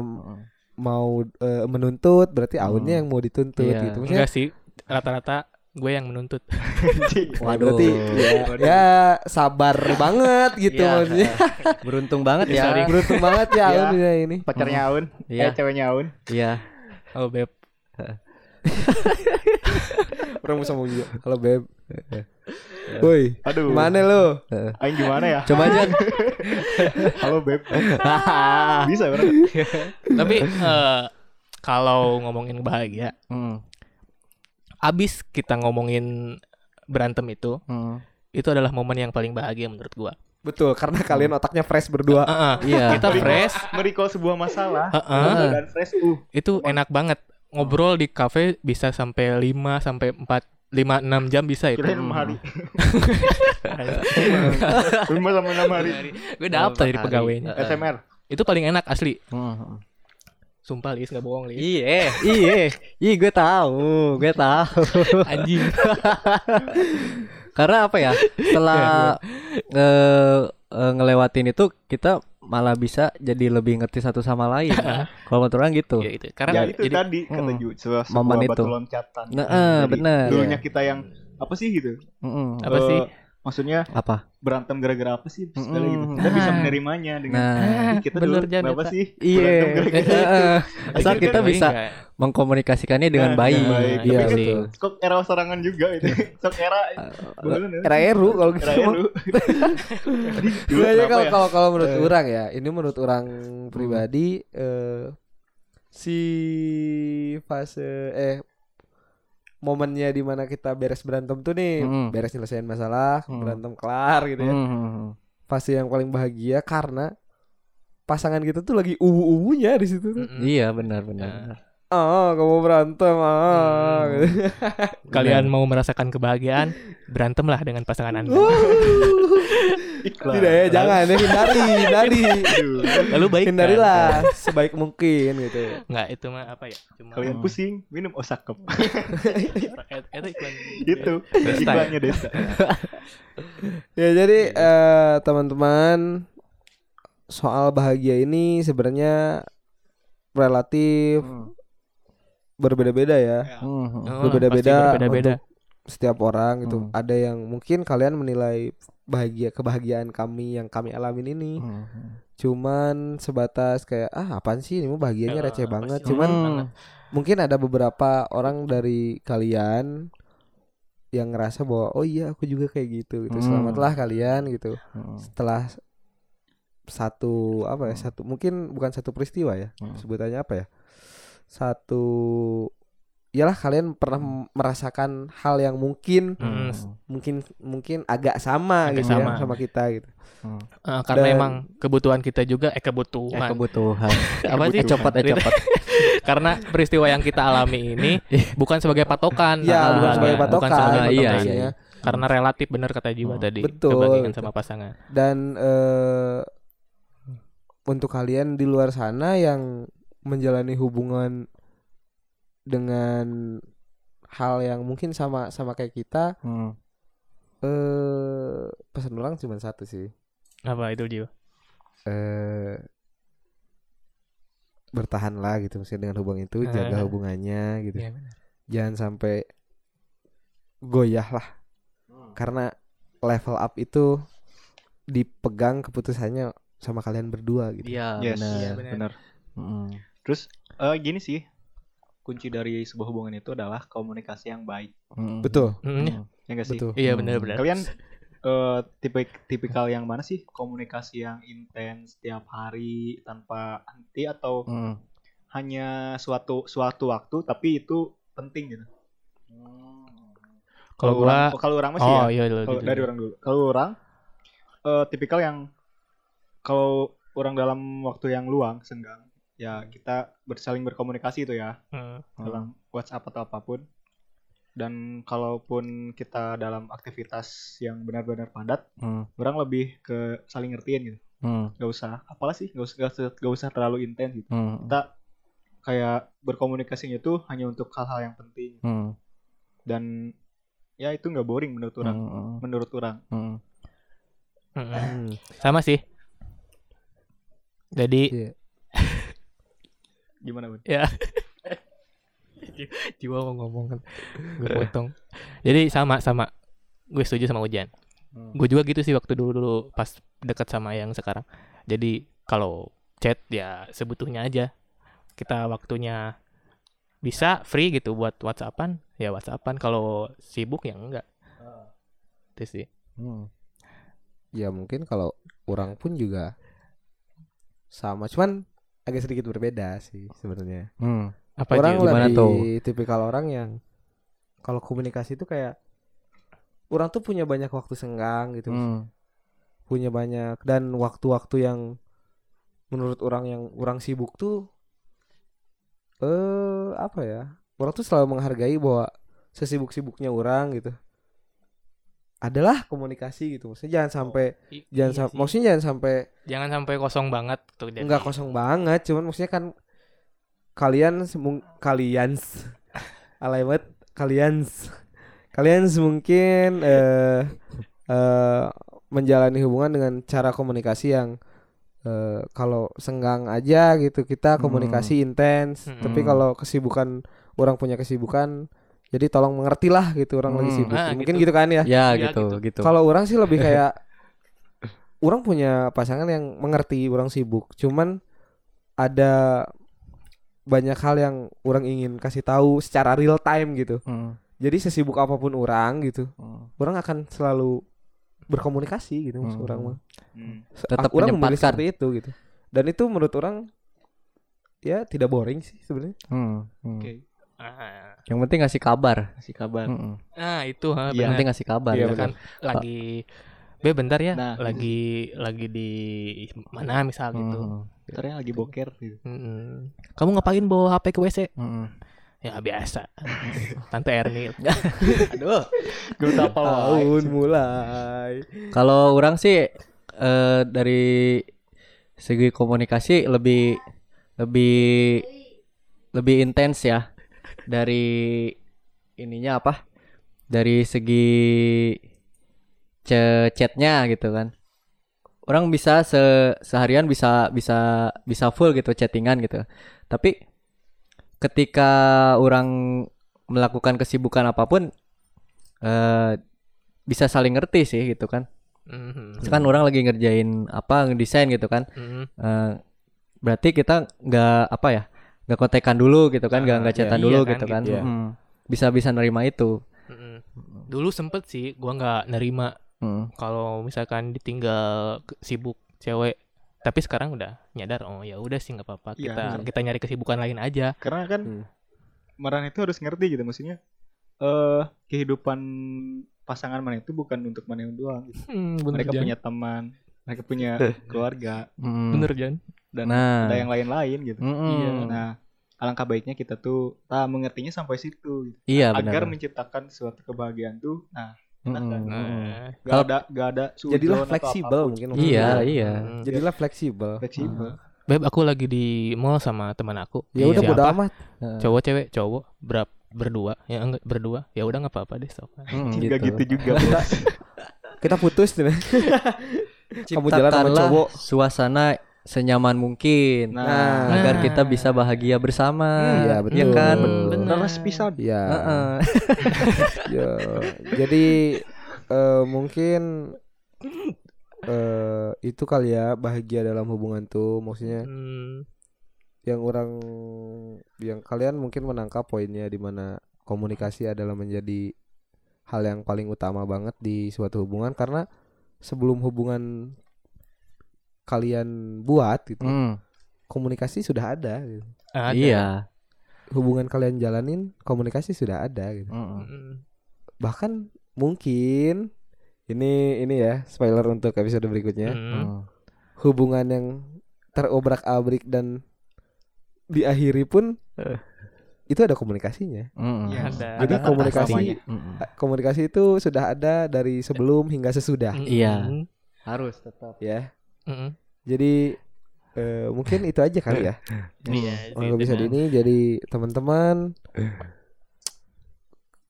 [SPEAKER 4] mau eh, menuntut berarti
[SPEAKER 1] Hmm.
[SPEAKER 4] Aunnya yang mau dituntut
[SPEAKER 1] Iya.
[SPEAKER 4] gitu. Maksudnya
[SPEAKER 3] Enggak sih, rata-rata gue yang menuntut.
[SPEAKER 1] Waduh. Iya.
[SPEAKER 4] berarti ya, ya sabar banget gitu
[SPEAKER 5] Iya.
[SPEAKER 4] maksudnya.
[SPEAKER 1] Beruntung banget ya.
[SPEAKER 3] Sorry.
[SPEAKER 4] Beruntung banget ya
[SPEAKER 5] Iya.
[SPEAKER 4] Aun ya ini.
[SPEAKER 5] pacarnya Aun,
[SPEAKER 1] Iya.
[SPEAKER 5] eh ceweknya Aun.
[SPEAKER 1] Iya.
[SPEAKER 3] Oh beb,
[SPEAKER 4] Orang mau sombong juga. Halo Beb. Woi,
[SPEAKER 5] Aduh.
[SPEAKER 4] mana lo?
[SPEAKER 5] Aing gimana ya?
[SPEAKER 1] Coba aja.
[SPEAKER 5] Halo beb.
[SPEAKER 1] [LAUGHS]
[SPEAKER 5] Bisa orang.
[SPEAKER 3] tapi eh, kalau ngomongin bahagia,
[SPEAKER 1] Mm,
[SPEAKER 3] abis kita ngomongin berantem itu,
[SPEAKER 1] mm.
[SPEAKER 3] itu adalah momen yang paling bahagia menurut gue.
[SPEAKER 4] Betul, karena kalian otaknya fresh berdua.
[SPEAKER 3] Heeh.
[SPEAKER 1] Iya.
[SPEAKER 3] Kita fresh,
[SPEAKER 5] Merikau sebuah masalah
[SPEAKER 3] heeh,
[SPEAKER 1] Ah.
[SPEAKER 5] dan fresh uh
[SPEAKER 3] itu enak banget. Ngobrol di kafe bisa sampai 5 sampai 4 5 6 jam bisa itu.
[SPEAKER 1] Hmm.
[SPEAKER 5] kirain lima hari. Lima sampai enam hari. Eh,
[SPEAKER 3] Gue dapet dari
[SPEAKER 1] Hari.
[SPEAKER 3] pegawainya.
[SPEAKER 5] SMR.
[SPEAKER 3] Itu paling enak asli.
[SPEAKER 1] Mm.
[SPEAKER 3] Sumpah Lis nggak bohong Lis.
[SPEAKER 1] Iya, iya, iya, gue tahu, gue tahu.
[SPEAKER 3] Anjing.
[SPEAKER 1] [LAUGHS] Karena apa ya?
[SPEAKER 3] Iya,
[SPEAKER 1] Setelah eh, eh, ngelewatin itu, kita malah bisa jadi lebih ngerti satu sama
[SPEAKER 3] [LAUGHS]
[SPEAKER 1] lain. Kalau menurut orang gitu.
[SPEAKER 3] ya itu. Karena
[SPEAKER 5] Ya itu
[SPEAKER 3] jadi
[SPEAKER 5] tadi kata
[SPEAKER 1] Mm.
[SPEAKER 5] Ju, sebuah, sebuah
[SPEAKER 1] Momen
[SPEAKER 5] batu
[SPEAKER 1] itu.
[SPEAKER 5] loncatan.
[SPEAKER 1] Nah, eh,
[SPEAKER 5] Dari
[SPEAKER 1] bener.
[SPEAKER 5] Dulunya kita yang apa sih gitu?
[SPEAKER 1] Mm-mm.
[SPEAKER 3] apa
[SPEAKER 5] Eh,
[SPEAKER 3] sih?
[SPEAKER 5] Maksudnya
[SPEAKER 1] Apa?
[SPEAKER 5] berantem gara-gara apa sih segala
[SPEAKER 1] Mm-mm.
[SPEAKER 5] gitu. Kita bisa
[SPEAKER 3] Nah.
[SPEAKER 5] menerimanya dengan
[SPEAKER 1] Nah,
[SPEAKER 5] "Ih, kita
[SPEAKER 3] bener,
[SPEAKER 5] dulu
[SPEAKER 3] Jan, ya,
[SPEAKER 5] kenapa
[SPEAKER 3] Pak."
[SPEAKER 5] sih? berantem gitu.
[SPEAKER 1] iya. Eh, eh.
[SPEAKER 5] gara-gara itu?"
[SPEAKER 1] Asal
[SPEAKER 5] Akhirnya
[SPEAKER 1] kita
[SPEAKER 5] kan-
[SPEAKER 1] bisa
[SPEAKER 3] Enggak.
[SPEAKER 1] mengkomunikasikannya [LAUGHS]
[SPEAKER 5] Nah,
[SPEAKER 1] dengan baik.
[SPEAKER 3] baik.
[SPEAKER 1] Iya,
[SPEAKER 5] Tapi kan
[SPEAKER 1] betul.
[SPEAKER 5] Sok era serangan juga itu. [LAUGHS] Sok era bener.
[SPEAKER 4] Era Eru kalau gitu.
[SPEAKER 5] Era
[SPEAKER 4] mah.
[SPEAKER 5] Eru. Jadi dulu
[SPEAKER 4] Iya, iya,
[SPEAKER 5] kenapa ya?
[SPEAKER 4] kalau
[SPEAKER 5] Hmm.
[SPEAKER 4] kalau kalau menurut orang ya, ini menurut orang pribadi eh si fase eh momennya dimana kita beres berantem tuh nih,
[SPEAKER 1] Mm.
[SPEAKER 5] Hmm.
[SPEAKER 4] beres nyelesain masalah,
[SPEAKER 1] Mm.
[SPEAKER 4] berantem kelar gitu ya.
[SPEAKER 1] Mm.
[SPEAKER 4] Fase yang paling bahagia karena pasangan kita tuh lagi ubu-ubunya di situ.
[SPEAKER 5] Hmm.
[SPEAKER 4] tuh.
[SPEAKER 3] Mm-mm.
[SPEAKER 1] Iya, benar, benar.
[SPEAKER 3] Hmm. Nah.
[SPEAKER 1] benar.
[SPEAKER 4] Ah, kamu berantem ah.
[SPEAKER 5] Hmm.
[SPEAKER 3] Mm.
[SPEAKER 4] gitu.
[SPEAKER 3] Kalian mau merasakan kebahagiaan, berantemlah dengan pasangan Anda.
[SPEAKER 5] Iklan.
[SPEAKER 4] Tidak ya, jangan ya hindari,
[SPEAKER 5] [LAUGHS]
[SPEAKER 4] hindari.
[SPEAKER 5] Aduh.
[SPEAKER 3] Lalu
[SPEAKER 5] kan?
[SPEAKER 3] baik kan?
[SPEAKER 4] Hindarilah sebaik mungkin gitu.
[SPEAKER 3] Enggak, itu mah apa ya? Cuma
[SPEAKER 5] Kalian pusing, minum oh, osakep.
[SPEAKER 3] Eh, itu iklan.
[SPEAKER 5] itu
[SPEAKER 3] Desta ya?
[SPEAKER 5] Gitu. iklannya desa.
[SPEAKER 4] Ya jadi eh, teman-teman soal bahagia ini sebenarnya relatif
[SPEAKER 1] Mm-hmm.
[SPEAKER 4] berbeda-beda ya.
[SPEAKER 1] Mm.
[SPEAKER 3] Oh,
[SPEAKER 4] Berbeda-beda
[SPEAKER 3] pasti berbeda-beda.
[SPEAKER 4] untuk setiap orang gitu.
[SPEAKER 1] Hmm.
[SPEAKER 4] Ada yang mungkin kalian menilai bahagia kebahagiaan kami yang kami alamin ini
[SPEAKER 1] Mm.
[SPEAKER 4] cuman sebatas kayak ah apaan sih ini mah bahagianya
[SPEAKER 3] Eh,
[SPEAKER 4] receh
[SPEAKER 3] apa
[SPEAKER 4] Ah, banget.
[SPEAKER 3] sih?
[SPEAKER 4] Cuman
[SPEAKER 1] Mm.
[SPEAKER 4] mungkin ada beberapa orang dari kalian yang ngerasa bahwa oh iya aku juga kayak gitu gitu.
[SPEAKER 1] Hmm.
[SPEAKER 4] Selamatlah kalian gitu.
[SPEAKER 1] Mm.
[SPEAKER 4] setelah satu apa ya satu mungkin bukan satu peristiwa ya
[SPEAKER 1] Hmm.
[SPEAKER 4] sebutannya apa ya satu iyalah kalian pernah m- merasakan hal yang mungkin
[SPEAKER 1] Eh,
[SPEAKER 3] Mm,
[SPEAKER 4] mungkin mungkin agak sama
[SPEAKER 3] Agak
[SPEAKER 4] gitu ya,
[SPEAKER 3] sama.
[SPEAKER 4] sama kita gitu
[SPEAKER 3] eh, karena
[SPEAKER 4] Dan-
[SPEAKER 3] emang kebutuhan kita juga eh
[SPEAKER 1] Eh,
[SPEAKER 3] kebutuhan.
[SPEAKER 1] kebutuhan.
[SPEAKER 3] apa sih?
[SPEAKER 1] Eh, copot, eh,
[SPEAKER 3] [LAUGHS]
[SPEAKER 1] copot.
[SPEAKER 3] karena peristiwa yang kita alami ini bukan sebagai patokan.
[SPEAKER 1] Ah,
[SPEAKER 4] ya Iya. bukan
[SPEAKER 1] iya.
[SPEAKER 4] sebagai
[SPEAKER 3] Bukan
[SPEAKER 4] patokan
[SPEAKER 3] sebagai
[SPEAKER 1] Ah, iya,
[SPEAKER 3] patokan.
[SPEAKER 1] iya,
[SPEAKER 4] maksudnya.
[SPEAKER 3] Karena relatif benar kata Jiwa tadi.
[SPEAKER 4] Hmm, Betul,
[SPEAKER 3] kebagian
[SPEAKER 4] gitu.
[SPEAKER 3] sama pasangan.
[SPEAKER 4] dan eh, untuk kalian di luar sana yang menjalani hubungan dengan hal yang mungkin sama sama kayak kita
[SPEAKER 1] Mm.
[SPEAKER 4] eh pesan ulang cuma satu sih.
[SPEAKER 3] Apa itu Jiwa?
[SPEAKER 4] Eh bertahanlah gitu maksudnya dengan hubungan itu,
[SPEAKER 3] Eh.
[SPEAKER 4] jaga hubungannya gitu.
[SPEAKER 3] Iya,
[SPEAKER 4] Jangan sampai goyah lah. Karena level up itu dipegang keputusannya sama kalian berdua gitu.
[SPEAKER 1] Iya,
[SPEAKER 5] Yes.
[SPEAKER 1] benar.
[SPEAKER 3] benar.
[SPEAKER 5] Benar.
[SPEAKER 1] Mm.
[SPEAKER 5] Terus eh, gini sih, kunci dari sebuah hubungan itu adalah komunikasi yang baik.
[SPEAKER 1] Mm.
[SPEAKER 4] Betul,
[SPEAKER 3] Mm,
[SPEAKER 1] Mm.
[SPEAKER 5] Ya nggak sih?
[SPEAKER 4] betul.
[SPEAKER 3] Iya benar-benar.
[SPEAKER 5] Kalian eh, tipe tipikal yang mana sih? Komunikasi yang intens tiap hari tanpa henti atau
[SPEAKER 1] Mm.
[SPEAKER 5] hanya suatu suatu waktu tapi itu penting gitu.
[SPEAKER 3] Kalau gua
[SPEAKER 5] orang- kalau orang masih ya.
[SPEAKER 3] Oh iya iya,
[SPEAKER 5] Kalau
[SPEAKER 3] iya,
[SPEAKER 5] dari
[SPEAKER 3] iya.
[SPEAKER 5] orang dulu. Kalau orang eh, tipikal yang kalau orang dalam waktu yang luang, senggang, ya kita bersaling berkomunikasi itu ya
[SPEAKER 1] Hmm.
[SPEAKER 3] Mm.
[SPEAKER 5] dalam WhatsApp atau apapun. dan kalaupun kita dalam aktivitas yang benar-benar padat
[SPEAKER 1] Hmm.
[SPEAKER 5] orang lebih ke saling ngertiin gitu
[SPEAKER 1] Hmm.
[SPEAKER 5] nggak usah apalah sih nggak usah nggak usah, nggak usah terlalu intens gitu
[SPEAKER 1] Hmm.
[SPEAKER 5] kita kayak berkomunikasinya tuh hanya untuk hal-hal yang penting
[SPEAKER 1] Hmm.
[SPEAKER 5] dan ya itu nggak boring menurut orang
[SPEAKER 1] Hmm.
[SPEAKER 5] menurut orang
[SPEAKER 1] Hmm.
[SPEAKER 3] Mm-mm. hmm.
[SPEAKER 4] Hmm.
[SPEAKER 3] Sama sih. Jadi
[SPEAKER 4] Iya.
[SPEAKER 5] gimana bun
[SPEAKER 3] jiwa mau ngomong kan. Gue potong. Jadi sama sama. Gue setuju sama Ujian.
[SPEAKER 1] Hmm.
[SPEAKER 3] Gue juga gitu sih waktu dulu dulu pas dekat sama yang sekarang. Jadi kalau chat ya sebutuhnya aja. Kita waktunya bisa free gitu buat WhatsAppan, ya WhatsAppan. Kalau sibuk ya enggak. Itu sih.
[SPEAKER 1] Hmm.
[SPEAKER 4] Ya mungkin kalau orang pun juga sama, cuman agak sedikit berbeda sih sebenarnya.
[SPEAKER 1] Hmm.
[SPEAKER 3] Apa Ji?
[SPEAKER 4] Orang
[SPEAKER 1] Gimana
[SPEAKER 4] lebih
[SPEAKER 1] tuh?
[SPEAKER 4] tipikal orang yang kalau komunikasi itu kayak orang tuh punya banyak waktu senggang gitu,
[SPEAKER 1] Hmm.
[SPEAKER 4] punya banyak dan waktu-waktu yang menurut orang yang orang sibuk tuh eh apa ya? Orang tuh selalu menghargai bahwa sesibuk-sibuknya orang gitu adalah komunikasi gitu. Maksudnya jangan sampai
[SPEAKER 3] I- Oh,
[SPEAKER 4] jangan
[SPEAKER 3] iya
[SPEAKER 4] sam-
[SPEAKER 3] sih.
[SPEAKER 4] maksudnya jangan sampai
[SPEAKER 3] jangan sampai kosong banget tuh jadi.
[SPEAKER 4] nggak kosong banget cuman maksudnya kan kalian semung kalian
[SPEAKER 3] [LAUGHS]
[SPEAKER 4] alay banget kalian kalian mungkin eh eh, menjalani hubungan dengan cara komunikasi yang eh, kalau senggang aja gitu kita komunikasi intens
[SPEAKER 3] Hmm.
[SPEAKER 4] tapi kalau kesibukan orang punya kesibukan jadi tolong mengertilah gitu orang lagi
[SPEAKER 1] Hmm.
[SPEAKER 4] sibuk
[SPEAKER 3] Ah,
[SPEAKER 4] mungkin
[SPEAKER 3] gitu.
[SPEAKER 4] gitu kan ya
[SPEAKER 1] Ya,
[SPEAKER 3] Ya,
[SPEAKER 1] gitu, gitu.
[SPEAKER 4] kalau orang sih lebih
[SPEAKER 1] [LAUGHS]
[SPEAKER 4] kayak orang punya pasangan yang mengerti orang sibuk. Cuman ada banyak hal yang orang ingin kasih tahu secara real time gitu.
[SPEAKER 1] Hmm.
[SPEAKER 4] Jadi sesibuk apapun orang gitu,
[SPEAKER 1] Hmm.
[SPEAKER 4] orang akan selalu berkomunikasi gitu maksud
[SPEAKER 1] Hmm.
[SPEAKER 4] orang mah.
[SPEAKER 5] Hmm.
[SPEAKER 4] Se-
[SPEAKER 1] Tetap
[SPEAKER 4] orang memilih
[SPEAKER 1] menyempatkan.
[SPEAKER 4] seperti itu gitu. Dan itu menurut orang ya tidak boring sih sebenarnya.
[SPEAKER 1] Hmm. Hmm.
[SPEAKER 5] oke
[SPEAKER 3] Ah,
[SPEAKER 1] Yang penting ngasih kabar.
[SPEAKER 5] kasih kabar
[SPEAKER 1] Hmm.
[SPEAKER 3] ah, itu
[SPEAKER 1] Yang
[SPEAKER 3] ha,
[SPEAKER 5] Iya.
[SPEAKER 3] benar.
[SPEAKER 1] penting ngasih kabar.
[SPEAKER 4] Iya,
[SPEAKER 1] gitu.
[SPEAKER 4] benar.
[SPEAKER 3] kan lagi be bentar ya
[SPEAKER 5] Nah,
[SPEAKER 3] lagi lagi di mana misal gitu
[SPEAKER 1] Hmm.
[SPEAKER 5] ternyata lagi boker gitu
[SPEAKER 3] Mm-mm. kamu ngapain bawa HP ke WC
[SPEAKER 4] Eh,
[SPEAKER 1] Hmm.
[SPEAKER 3] ya
[SPEAKER 5] [LAUGHS]
[SPEAKER 3] biasa tante Erni
[SPEAKER 1] Aduh.
[SPEAKER 5] gue apa
[SPEAKER 4] Tahun mulai.
[SPEAKER 1] Kalau orang sih eh, dari segi komunikasi lebih lebih lebih intens ya dari ininya apa? Dari segi ce- chatnya gitu kan. Orang bisa se- seharian bisa bisa bisa full gitu chattingan gitu. Tapi ketika orang melakukan kesibukan apapun eh bisa saling ngerti sih gitu kan.
[SPEAKER 3] Mhm.
[SPEAKER 1] kan orang lagi ngerjain apa ngedesain gitu kan
[SPEAKER 3] Mhm.
[SPEAKER 1] Eh, berarti kita nggak apa ya nggak kontekan dulu gitu kan nggak
[SPEAKER 3] Ah,
[SPEAKER 1] nggak chatan
[SPEAKER 3] iya
[SPEAKER 1] dulu
[SPEAKER 3] kan,
[SPEAKER 1] gitu kan
[SPEAKER 4] gitu ya.
[SPEAKER 1] Mm. bisa bisa nerima itu
[SPEAKER 3] Mhm. dulu sempet sih gua nggak nerima
[SPEAKER 1] Mm.
[SPEAKER 3] kalau misalkan ditinggal ke- sibuk cewek tapi sekarang udah nyadar oh ya udah sih nggak apa-apa
[SPEAKER 5] Iya,
[SPEAKER 3] kita
[SPEAKER 5] benar.
[SPEAKER 3] kita nyari kesibukan lain aja
[SPEAKER 5] karena kan
[SPEAKER 4] Hmm.
[SPEAKER 5] Meran itu harus ngerti gitu maksudnya eh kehidupan pasangan mana itu bukan untuk mana doang gitu.
[SPEAKER 3] Hmm, bener
[SPEAKER 5] mereka
[SPEAKER 3] Jan.
[SPEAKER 5] punya teman mereka punya keluarga
[SPEAKER 1] Mm.
[SPEAKER 3] bener Jan
[SPEAKER 5] dan
[SPEAKER 1] nah Hmm.
[SPEAKER 5] ada yang lain-lain gitu
[SPEAKER 1] Mm-mm.
[SPEAKER 3] Iya.
[SPEAKER 5] nah alangkah baiknya kita tuh tak mengertinya sampai situ gitu.
[SPEAKER 1] iya benar
[SPEAKER 5] agar menciptakan suatu kebahagiaan tuh nah
[SPEAKER 1] Mm-mm.
[SPEAKER 5] Nah,
[SPEAKER 1] Mm-mm.
[SPEAKER 3] Nah,
[SPEAKER 5] gak
[SPEAKER 1] Kalau-
[SPEAKER 5] ada gak ada sujon
[SPEAKER 4] Jadilah
[SPEAKER 5] atau
[SPEAKER 4] fleksibel
[SPEAKER 5] apapun.
[SPEAKER 4] mungkin.
[SPEAKER 1] iya
[SPEAKER 4] maksudnya.
[SPEAKER 1] iya
[SPEAKER 3] mhm.
[SPEAKER 4] Jadilah fleksibel.
[SPEAKER 5] fleksibel
[SPEAKER 3] Beb, aku lagi di mall sama teman aku.
[SPEAKER 1] Iya.
[SPEAKER 4] Ya udah
[SPEAKER 3] Siapa?
[SPEAKER 4] bodo amat.
[SPEAKER 3] Cowok cewek, cowok berap berdua. Ya enggak berdua. Ya udah nggak apa-apa deh, sok.
[SPEAKER 1] Mm,
[SPEAKER 5] Cing, gak gitu juga bos.
[SPEAKER 4] Kita putus
[SPEAKER 1] [LAUGHS]
[SPEAKER 4] nih. Kamu jalan sama
[SPEAKER 1] Ciptakanlah
[SPEAKER 4] cowok.
[SPEAKER 1] suasana senyaman mungkin
[SPEAKER 5] nah
[SPEAKER 4] Nah.
[SPEAKER 1] agar kita bisa bahagia bersama
[SPEAKER 4] Iya, betul.
[SPEAKER 1] kan
[SPEAKER 3] Bener.
[SPEAKER 5] bener pisan
[SPEAKER 1] Iya.
[SPEAKER 4] Ya.
[SPEAKER 1] Heeh.
[SPEAKER 4] ya. Jadi eh, mungkin eh itu kali ya bahagia dalam hubungan tuh maksudnya
[SPEAKER 3] Hmm,
[SPEAKER 4] yang orang yang kalian mungkin menangkap poinnya di mana komunikasi adalah menjadi hal yang paling utama banget di suatu hubungan karena sebelum hubungan kalian buat gitu
[SPEAKER 1] Mm.
[SPEAKER 4] komunikasi sudah ada gitu.
[SPEAKER 3] ada.
[SPEAKER 1] iya
[SPEAKER 4] hubungan kalian jalanin komunikasi sudah ada gitu.
[SPEAKER 1] Mm-mm.
[SPEAKER 3] Hmm,
[SPEAKER 4] Bahkan mungkin ini ini ya spoiler untuk episode berikutnya.
[SPEAKER 3] hmm.
[SPEAKER 1] Mm.
[SPEAKER 4] Hubungan yang terobrak-abrik dan diakhiri pun itu ada komunikasinya.
[SPEAKER 1] Mm-mm.
[SPEAKER 5] Iya.
[SPEAKER 3] Ada.
[SPEAKER 4] Jadi
[SPEAKER 5] Ada
[SPEAKER 4] komunikasi
[SPEAKER 5] atasannya.
[SPEAKER 1] Mm-mm.
[SPEAKER 4] komunikasi itu sudah ada dari sebelum hingga sesudah
[SPEAKER 3] Mm-mm.
[SPEAKER 1] Iya. harus tetap
[SPEAKER 4] ya.
[SPEAKER 3] Mm-mm.
[SPEAKER 4] Jadi eh, mungkin itu aja kali ya.
[SPEAKER 3] Iya.
[SPEAKER 4] Oh, nggak
[SPEAKER 3] gitu,
[SPEAKER 4] bisa
[SPEAKER 3] kan.
[SPEAKER 4] di ini jadi teman-teman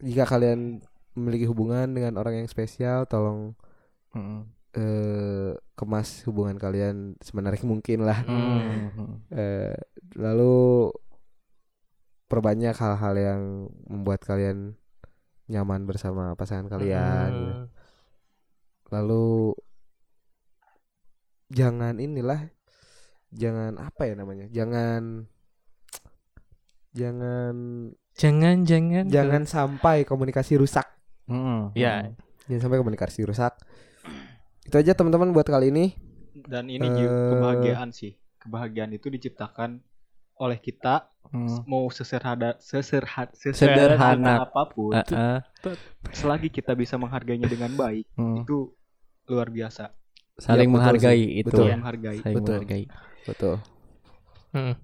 [SPEAKER 4] jika kalian memiliki hubungan dengan orang yang spesial tolong
[SPEAKER 1] Mm-mm.
[SPEAKER 4] eh, kemas hubungan kalian semenarik mungkin lah.
[SPEAKER 1] Hmm. Mm-mm.
[SPEAKER 4] Eh, lalu perbanyak hal-hal yang membuat kalian nyaman bersama pasangan kalian. gitu.
[SPEAKER 3] Mm.
[SPEAKER 4] Lalu jangan inilah jangan apa ya namanya? Jangan jangan
[SPEAKER 3] Jangan jangan tuh.
[SPEAKER 4] jangan sampai komunikasi rusak.
[SPEAKER 1] Mm-mm.
[SPEAKER 3] Ya.
[SPEAKER 4] Jangan sampai komunikasi rusak. Itu aja teman-teman buat kali ini.
[SPEAKER 5] Dan ini Ju,
[SPEAKER 4] Eh.
[SPEAKER 5] kebahagiaan sih. Kebahagiaan itu diciptakan oleh kita
[SPEAKER 1] Mm.
[SPEAKER 5] mau seserhada seserhat
[SPEAKER 1] Sederhana.
[SPEAKER 5] apapun
[SPEAKER 1] Uh-uh.
[SPEAKER 5] selagi kita bisa menghargainya dengan baik
[SPEAKER 1] Mm.
[SPEAKER 5] itu luar biasa
[SPEAKER 1] saling
[SPEAKER 4] Ya, betul
[SPEAKER 1] menghargai
[SPEAKER 4] sih.
[SPEAKER 1] itu
[SPEAKER 4] Betul.
[SPEAKER 5] Yang menghargai
[SPEAKER 1] saling
[SPEAKER 4] Betul.
[SPEAKER 1] menghargai
[SPEAKER 4] Betul.
[SPEAKER 3] Mm.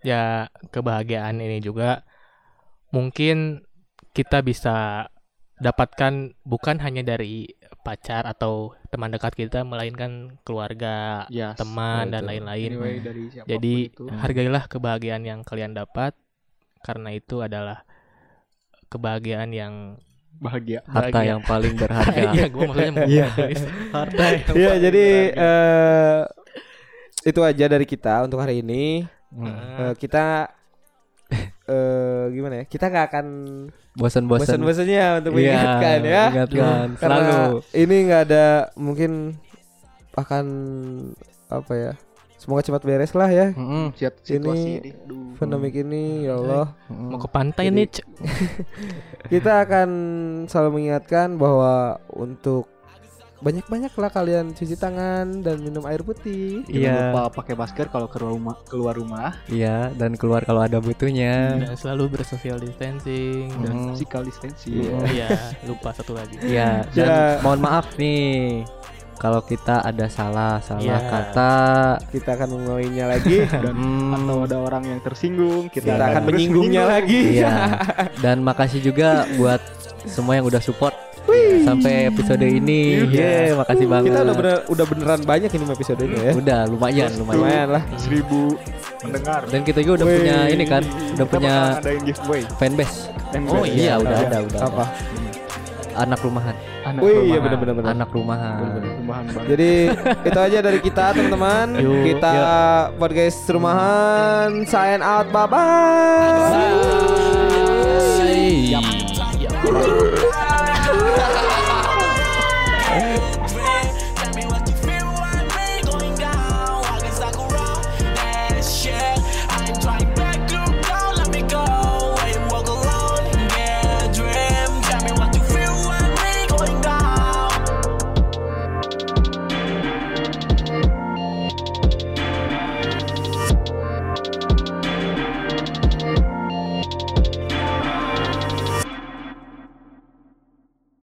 [SPEAKER 3] Ya kebahagiaan ini juga mungkin kita bisa dapatkan bukan hanya dari pacar atau teman dekat kita melainkan keluarga,
[SPEAKER 5] Yes.
[SPEAKER 3] teman dan
[SPEAKER 4] betul.
[SPEAKER 3] lain-lain.
[SPEAKER 5] Ya, anyway dari siapapun
[SPEAKER 3] Jadi
[SPEAKER 5] itu
[SPEAKER 3] hargailah kebahagiaan yang kalian dapat karena itu adalah kebahagiaan yang
[SPEAKER 5] bahagia
[SPEAKER 1] harta ya. yang paling berharga
[SPEAKER 3] [LAUGHS] Iya, gua maksudnya mau
[SPEAKER 4] Iya.
[SPEAKER 3] nulis.
[SPEAKER 5] harta yang
[SPEAKER 4] Iya
[SPEAKER 5] paling
[SPEAKER 4] jadi
[SPEAKER 5] berharga.
[SPEAKER 4] eh itu aja dari kita untuk hari ini.
[SPEAKER 1] Mm.
[SPEAKER 4] Eh, kita eh gimana ya? Kita nggak akan
[SPEAKER 1] bosan-bosan
[SPEAKER 4] bosan-bosannya untuk
[SPEAKER 1] Iya,
[SPEAKER 4] mengingatkan ya.
[SPEAKER 1] mengingatkan.
[SPEAKER 4] Karena
[SPEAKER 1] Selalu.
[SPEAKER 4] ini nggak ada mungkin akan apa ya? Semoga cepat beres lah ya.
[SPEAKER 1] Mm-mm.
[SPEAKER 5] Siat- situasi
[SPEAKER 4] ini
[SPEAKER 5] ini, aduh.
[SPEAKER 4] Pandemi
[SPEAKER 1] Hmm.
[SPEAKER 4] ini ya Allah.
[SPEAKER 1] Mm-mm.
[SPEAKER 3] mau ke pantai
[SPEAKER 4] Jadi-
[SPEAKER 3] nih. Cek.
[SPEAKER 4] Kita akan selalu mengingatkan bahwa untuk banyak-banyaklah kalian cuci tangan dan minum air putih.
[SPEAKER 5] Jangan
[SPEAKER 1] Iya.
[SPEAKER 5] lupa pakai masker kalau keluar rumah keluar rumah
[SPEAKER 1] iya dan keluar kalau ada butuhnya
[SPEAKER 3] Dan selalu bersocial distancing dan
[SPEAKER 1] Mm.
[SPEAKER 5] physical distancing
[SPEAKER 4] Iya.
[SPEAKER 3] Iya, lupa satu lagi.
[SPEAKER 1] Iya, dan
[SPEAKER 4] Ya.
[SPEAKER 1] mohon maaf nih kalau kita ada salah salah
[SPEAKER 3] Iya.
[SPEAKER 1] kata
[SPEAKER 4] Kita akan mengulanginya lagi.
[SPEAKER 5] dan
[SPEAKER 1] Hmm.
[SPEAKER 5] atau ada orang yang tersinggung kita,
[SPEAKER 4] kita akan
[SPEAKER 5] terus
[SPEAKER 4] menyinggungnya
[SPEAKER 5] menyinggung.
[SPEAKER 4] lagi.
[SPEAKER 1] Iya. Dan makasih juga buat semua yang udah support sampai episode ini. Ye, Eh, makasih banget.
[SPEAKER 4] Kita udah bener- udah beneran banyak ini episodenya ya.
[SPEAKER 1] Udah, lumayan, lumayan.
[SPEAKER 4] Lumayan lah.
[SPEAKER 5] seribu pendengar
[SPEAKER 1] Dan kita juga udah
[SPEAKER 4] Wih.
[SPEAKER 1] punya ini kan, udah
[SPEAKER 5] Kita
[SPEAKER 1] punya
[SPEAKER 5] bakal ngadain giveaway
[SPEAKER 1] fanbase.
[SPEAKER 5] Ember.
[SPEAKER 1] iya, udah ada, udah.
[SPEAKER 4] Apa?
[SPEAKER 1] ada. Anak Ah. rumahan,
[SPEAKER 5] Anak
[SPEAKER 4] Wih, iya
[SPEAKER 5] rumahan.
[SPEAKER 4] bener-bener bener.
[SPEAKER 1] anak rumahan.
[SPEAKER 5] Rumahan banget.
[SPEAKER 4] Jadi itu aja dari kita teman-teman.
[SPEAKER 1] Yuk.
[SPEAKER 4] Kita podcast rumahan sign out. Bye bye.
[SPEAKER 1] Bye.
[SPEAKER 2] Yep.